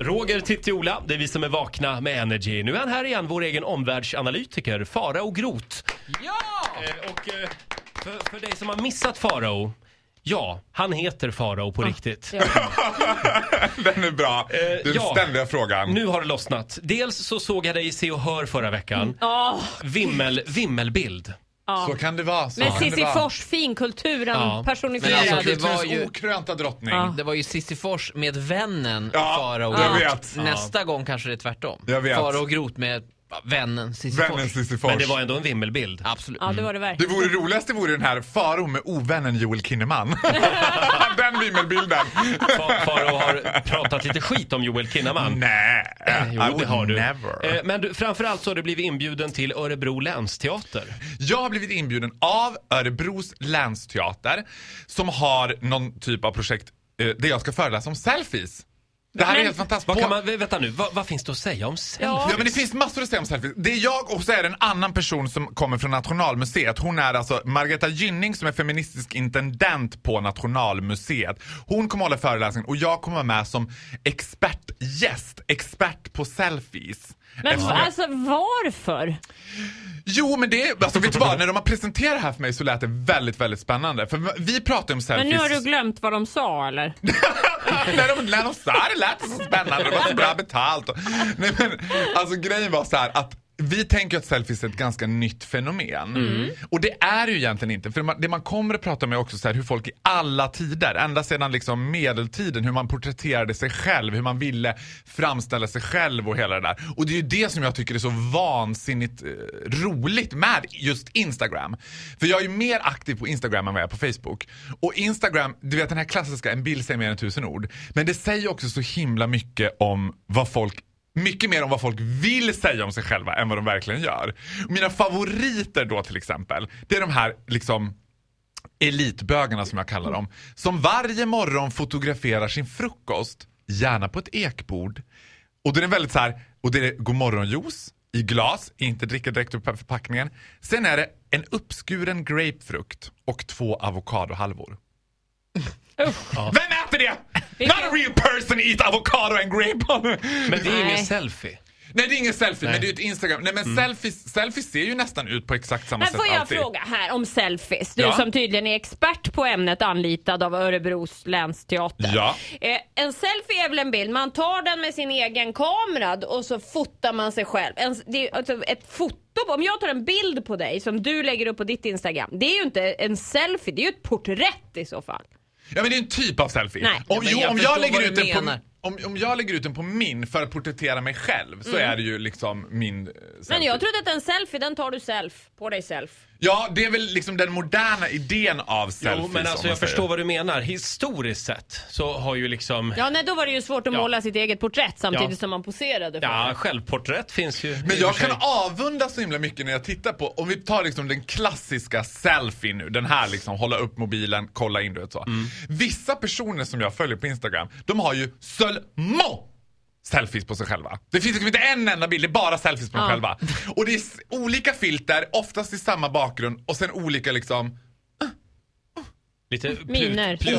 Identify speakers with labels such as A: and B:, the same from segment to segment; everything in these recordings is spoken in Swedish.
A: Roger, Titti, Ola, det är vi som är vakna med Energy. Nu är han här igen, vår egen omvärldsanalytiker, Farao Groth.
B: Ja!
A: Eh, Och eh, för, för dig som har missat Farao, ja, han heter Farao på riktigt. Eh,
C: Den Ah, är bra. Den
A: ja.
C: ständiga frågan.
A: Nu har det lossnat. Dels så såg jag dig i Se och Hör förra
C: Mm.
A: veckan.
B: Ja,
A: Vimmel, vimmelbild.
C: Så kan det vara. Så
B: men
C: kan det
B: Cissi
C: vara.
B: Fors, finkulturen
A: Ja.
B: personifierad.
D: Men alltså, det
C: Kulturens
D: var ju-
C: okrönta drottning.
B: Ja.
D: Det var ju Sissifors med vännen
C: Ja,
D: Farao
C: jag
D: Groth.
C: vet.
D: Nästa gång kanske det är tvärtom.
C: Jag vet.
D: Farao Groth med vännen Sissifors.
C: Vännen Cissi Fors.
A: Men det var ändå en vimmelbild.
D: Absolut.
B: Ja, det var det
C: Det
B: verkligen.
C: vore roligast det vore den här Faro med ovännen Joel Kinnaman. den vimmelbilden.
A: Fa- Farao har pratat lite skit om Joel Kinnaman.
C: Nej, I
A: Jo, det
C: would
A: har du.
C: never.
A: Eh, Men du, framförallt så har du blivit inbjuden till Örebro länsteater.
C: Jag har blivit inbjuden av Örebros länsteater som har någon typ av projekt eh, där jag ska föreläsa om selfies. Det här är
B: Men-
C: helt fantastiskt.
A: Vad
C: På-
A: kan man, vä- vänta nu, vad, vad finns det att säga om selfies?
B: Ja.
C: Mm. Ja men det finns massor att säga om selfies. Det är jag och så är det en annan person som kommer från Nationalmuseet. Hon är alltså Margareta Gynning som är feministisk intendent på Nationalmuseet. Hon kommer hålla föreläsningen och jag kommer vara med som expertgäst, expert på selfies.
B: Men
C: Eftersom
B: va-
C: jag-
B: alltså varför?
C: Jo men det, alltså vet du vad, när de har presenterat det här för mig så lät det väldigt, väldigt spännande. För vi pratar ju om selfies.
B: Men nu har du glömt vad de sa eller?
C: när, de, när de sa det lät det så spännande, det var så bra betalt. Och, nej men, alltså grejen var så här att vi tänker att selfies är ett ganska nytt fenomen. Och det är det ju egentligen inte. För man, det man kommer att prata om är också så här, hur folk i alla tider, ända sedan liksom medeltiden, hur man porträtterade sig själv, hur man ville framställa sig själv och hela det där. Och det är ju det som jag tycker är så vansinnigt eh, roligt med just Instagram. För jag är ju mer aktiv på Instagram än vad jag är på Facebook. Och Instagram, du vet den här klassiska, en bild säger mer än tusen ord. Men det säger också så himla mycket om vad folk mycket mer om vad folk vill säga om sig själva än vad de verkligen gör. Mina favoriter då till exempel, det är de här liksom elitbögarna som jag kallar dem, som varje morgon fotograferar sin frukost, gärna på ett ekbord. Och det är väldigt så här, och det är godmorgonjuice i glas, inte dricka direkt ur förpackningen. Sen är det en uppskuren grapefrukt och två avokadohalvor. Vem äter det? Not a real person eat avocado and grape.
A: Men det är ju ingen
B: Nej.
A: selfie.
C: Nej Mm. det är ingen selfie, men det är ju ett Instagram. Nej men selfies, selfies ser ju nästan ut på exakt samma
B: Men
C: sätt
B: får jag
C: alltid.
B: fråga här om selfies? Du
C: Ja.
B: som tydligen är expert på ämnet anlitad av Örebros länsteater.
C: Ja.
B: Eh, en selfie är väl en bild, man tar den med sin egen kamera och så fotar man sig själv. En, det är, alltså, ett foto, på- om jag tar en bild på dig som du lägger upp på ditt Instagram, det är ju inte en selfie, det är ju ett porträtt i så fall.
C: Ja men det är en typ av selfie.
B: Nej.
C: Om,
D: Ja, men
C: jo,
D: jag
C: om,
D: förstår
C: jag lägger
D: vad
C: ut
D: du
C: den på,
D: menar.
C: om, om jag lägger ut den på min för att porträttera mig själv så
D: Mm.
C: är det ju liksom min eh, selfie.
B: Men jag trodde att en selfie, den tar du self, på dig self.
C: Ja det är väl liksom den moderna idén av selfies.
A: Jo, men alltså
C: om man
A: jag
C: säger.
A: förstår vad du menar. Historiskt sett så har ju liksom...
B: Ja, nej, då var det ju svårt att
A: Ja.
B: måla sitt eget porträtt samtidigt
A: Ja.
B: som man poserade för
A: Ja,
B: det.
A: självporträtt finns ju. i och
C: Men
A: för
C: jag kan
A: sig.
C: avundas så himla mycket när jag tittar på, om vi tar liksom den klassiska selfie nu, den här liksom hålla upp mobilen, kolla in du vet så.
A: Mm.
C: Vissa personer som jag följer på Instagram, de har ju seulement selfies på sig själva. Det finns liksom inte en enda bild, det är bara selfies på dem
B: Ja.
C: själva. Och det är s- olika filter, oftast i samma bakgrund och sen olika liksom
A: Lite plut,
B: Miner.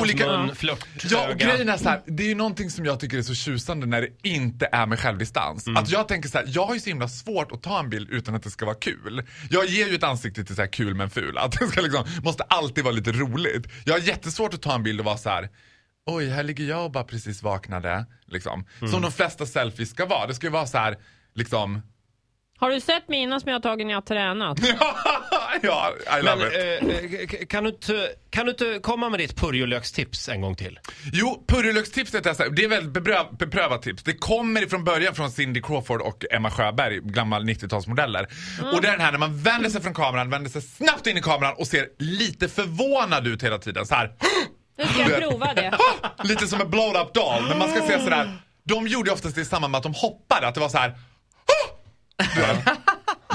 A: Olika...
C: Olika-
A: Mun, flört,
C: Ja, och
A: öga.
C: grejen är så här, det är ju någonting som jag tycker är så tjusande när det inte är med självdistans. Att jag tänker så här, jag har ju så himla svårt att ta en bild utan att det ska vara kul. Jag ger ju ett ansikte till så här kul men ful, att det ska liksom, måste alltid vara lite roligt. Jag har jättesvårt att ta en bild och vara så här. Oj, här ligger jag och bara precis vaknade. Liksom. Som de flesta selfies ska vara. Det ska ju vara så här, liksom...
B: Har du sett mina som jag har tagit när jag har tränat?
C: ja, I love
A: Men,
C: it.
A: eh, eh, k- kan, du inte, kan du inte komma med ditt purjolökstips en gång till?
C: Jo, purjolökstipset är så här, det är väldigt bepröv, beprövat tips. Det kommer från början från Cindy Crawford och Emma Sjöberg, gamla 90-talsmodeller. Och det är den här när man vänder sig från kameran, vänder sig snabbt in i kameran och ser lite förvånad ut hela tiden. Så här,
B: Nu ska jag prova det.
C: lite som en blown up doll. Men man ska se sådär, de gjorde ju oftast det i samband med att de hoppade, att det var så här. Du vet,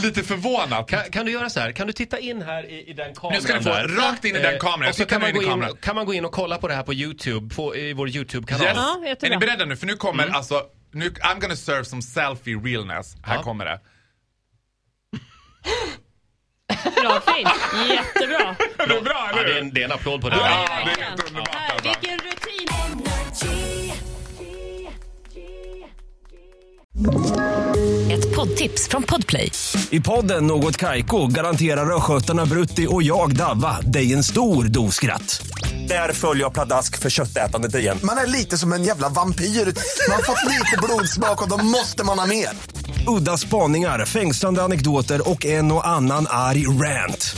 C: Lite förvånat.
A: Kan, kan du göra så här? Kan du titta in här i, i den kameran
C: Nu ska du få
A: där?
C: rakt in i den kameran.
A: och så
C: Titta
A: kan
C: nu
A: man,
C: in
A: gå
C: i
A: in,
C: kameran.
A: kan man gå in och kolla på det här på Youtube, på, i vår Youtube-kanal.
C: Yes.
B: Ja, jättebra.
C: är ni beredda nu? För nu kommer alltså, nu, I'm gonna serve some selfie realness. Här
A: Ja.
C: kommer det.
B: Bra, fint. Jättebra.
C: Det är bra,
A: Ja, det, är alltså. en, det är en applåd på det.
C: Ja,
A: där.
C: det är helt underbart.
B: Vilken rutin.
E: energy. poddtips från Podplay.
F: I podden Något Kaiko garanterar östgötarna Brutti och jag, Davva, dig en stor dos skratt. Där följer jag pladask för köttätandet igen.
G: Man är lite som en jävla vampyr. Man har fått lite blodsmak och då måste man ha mer.
F: Udda spaningar, fängslande anekdoter och en och annan arg rant.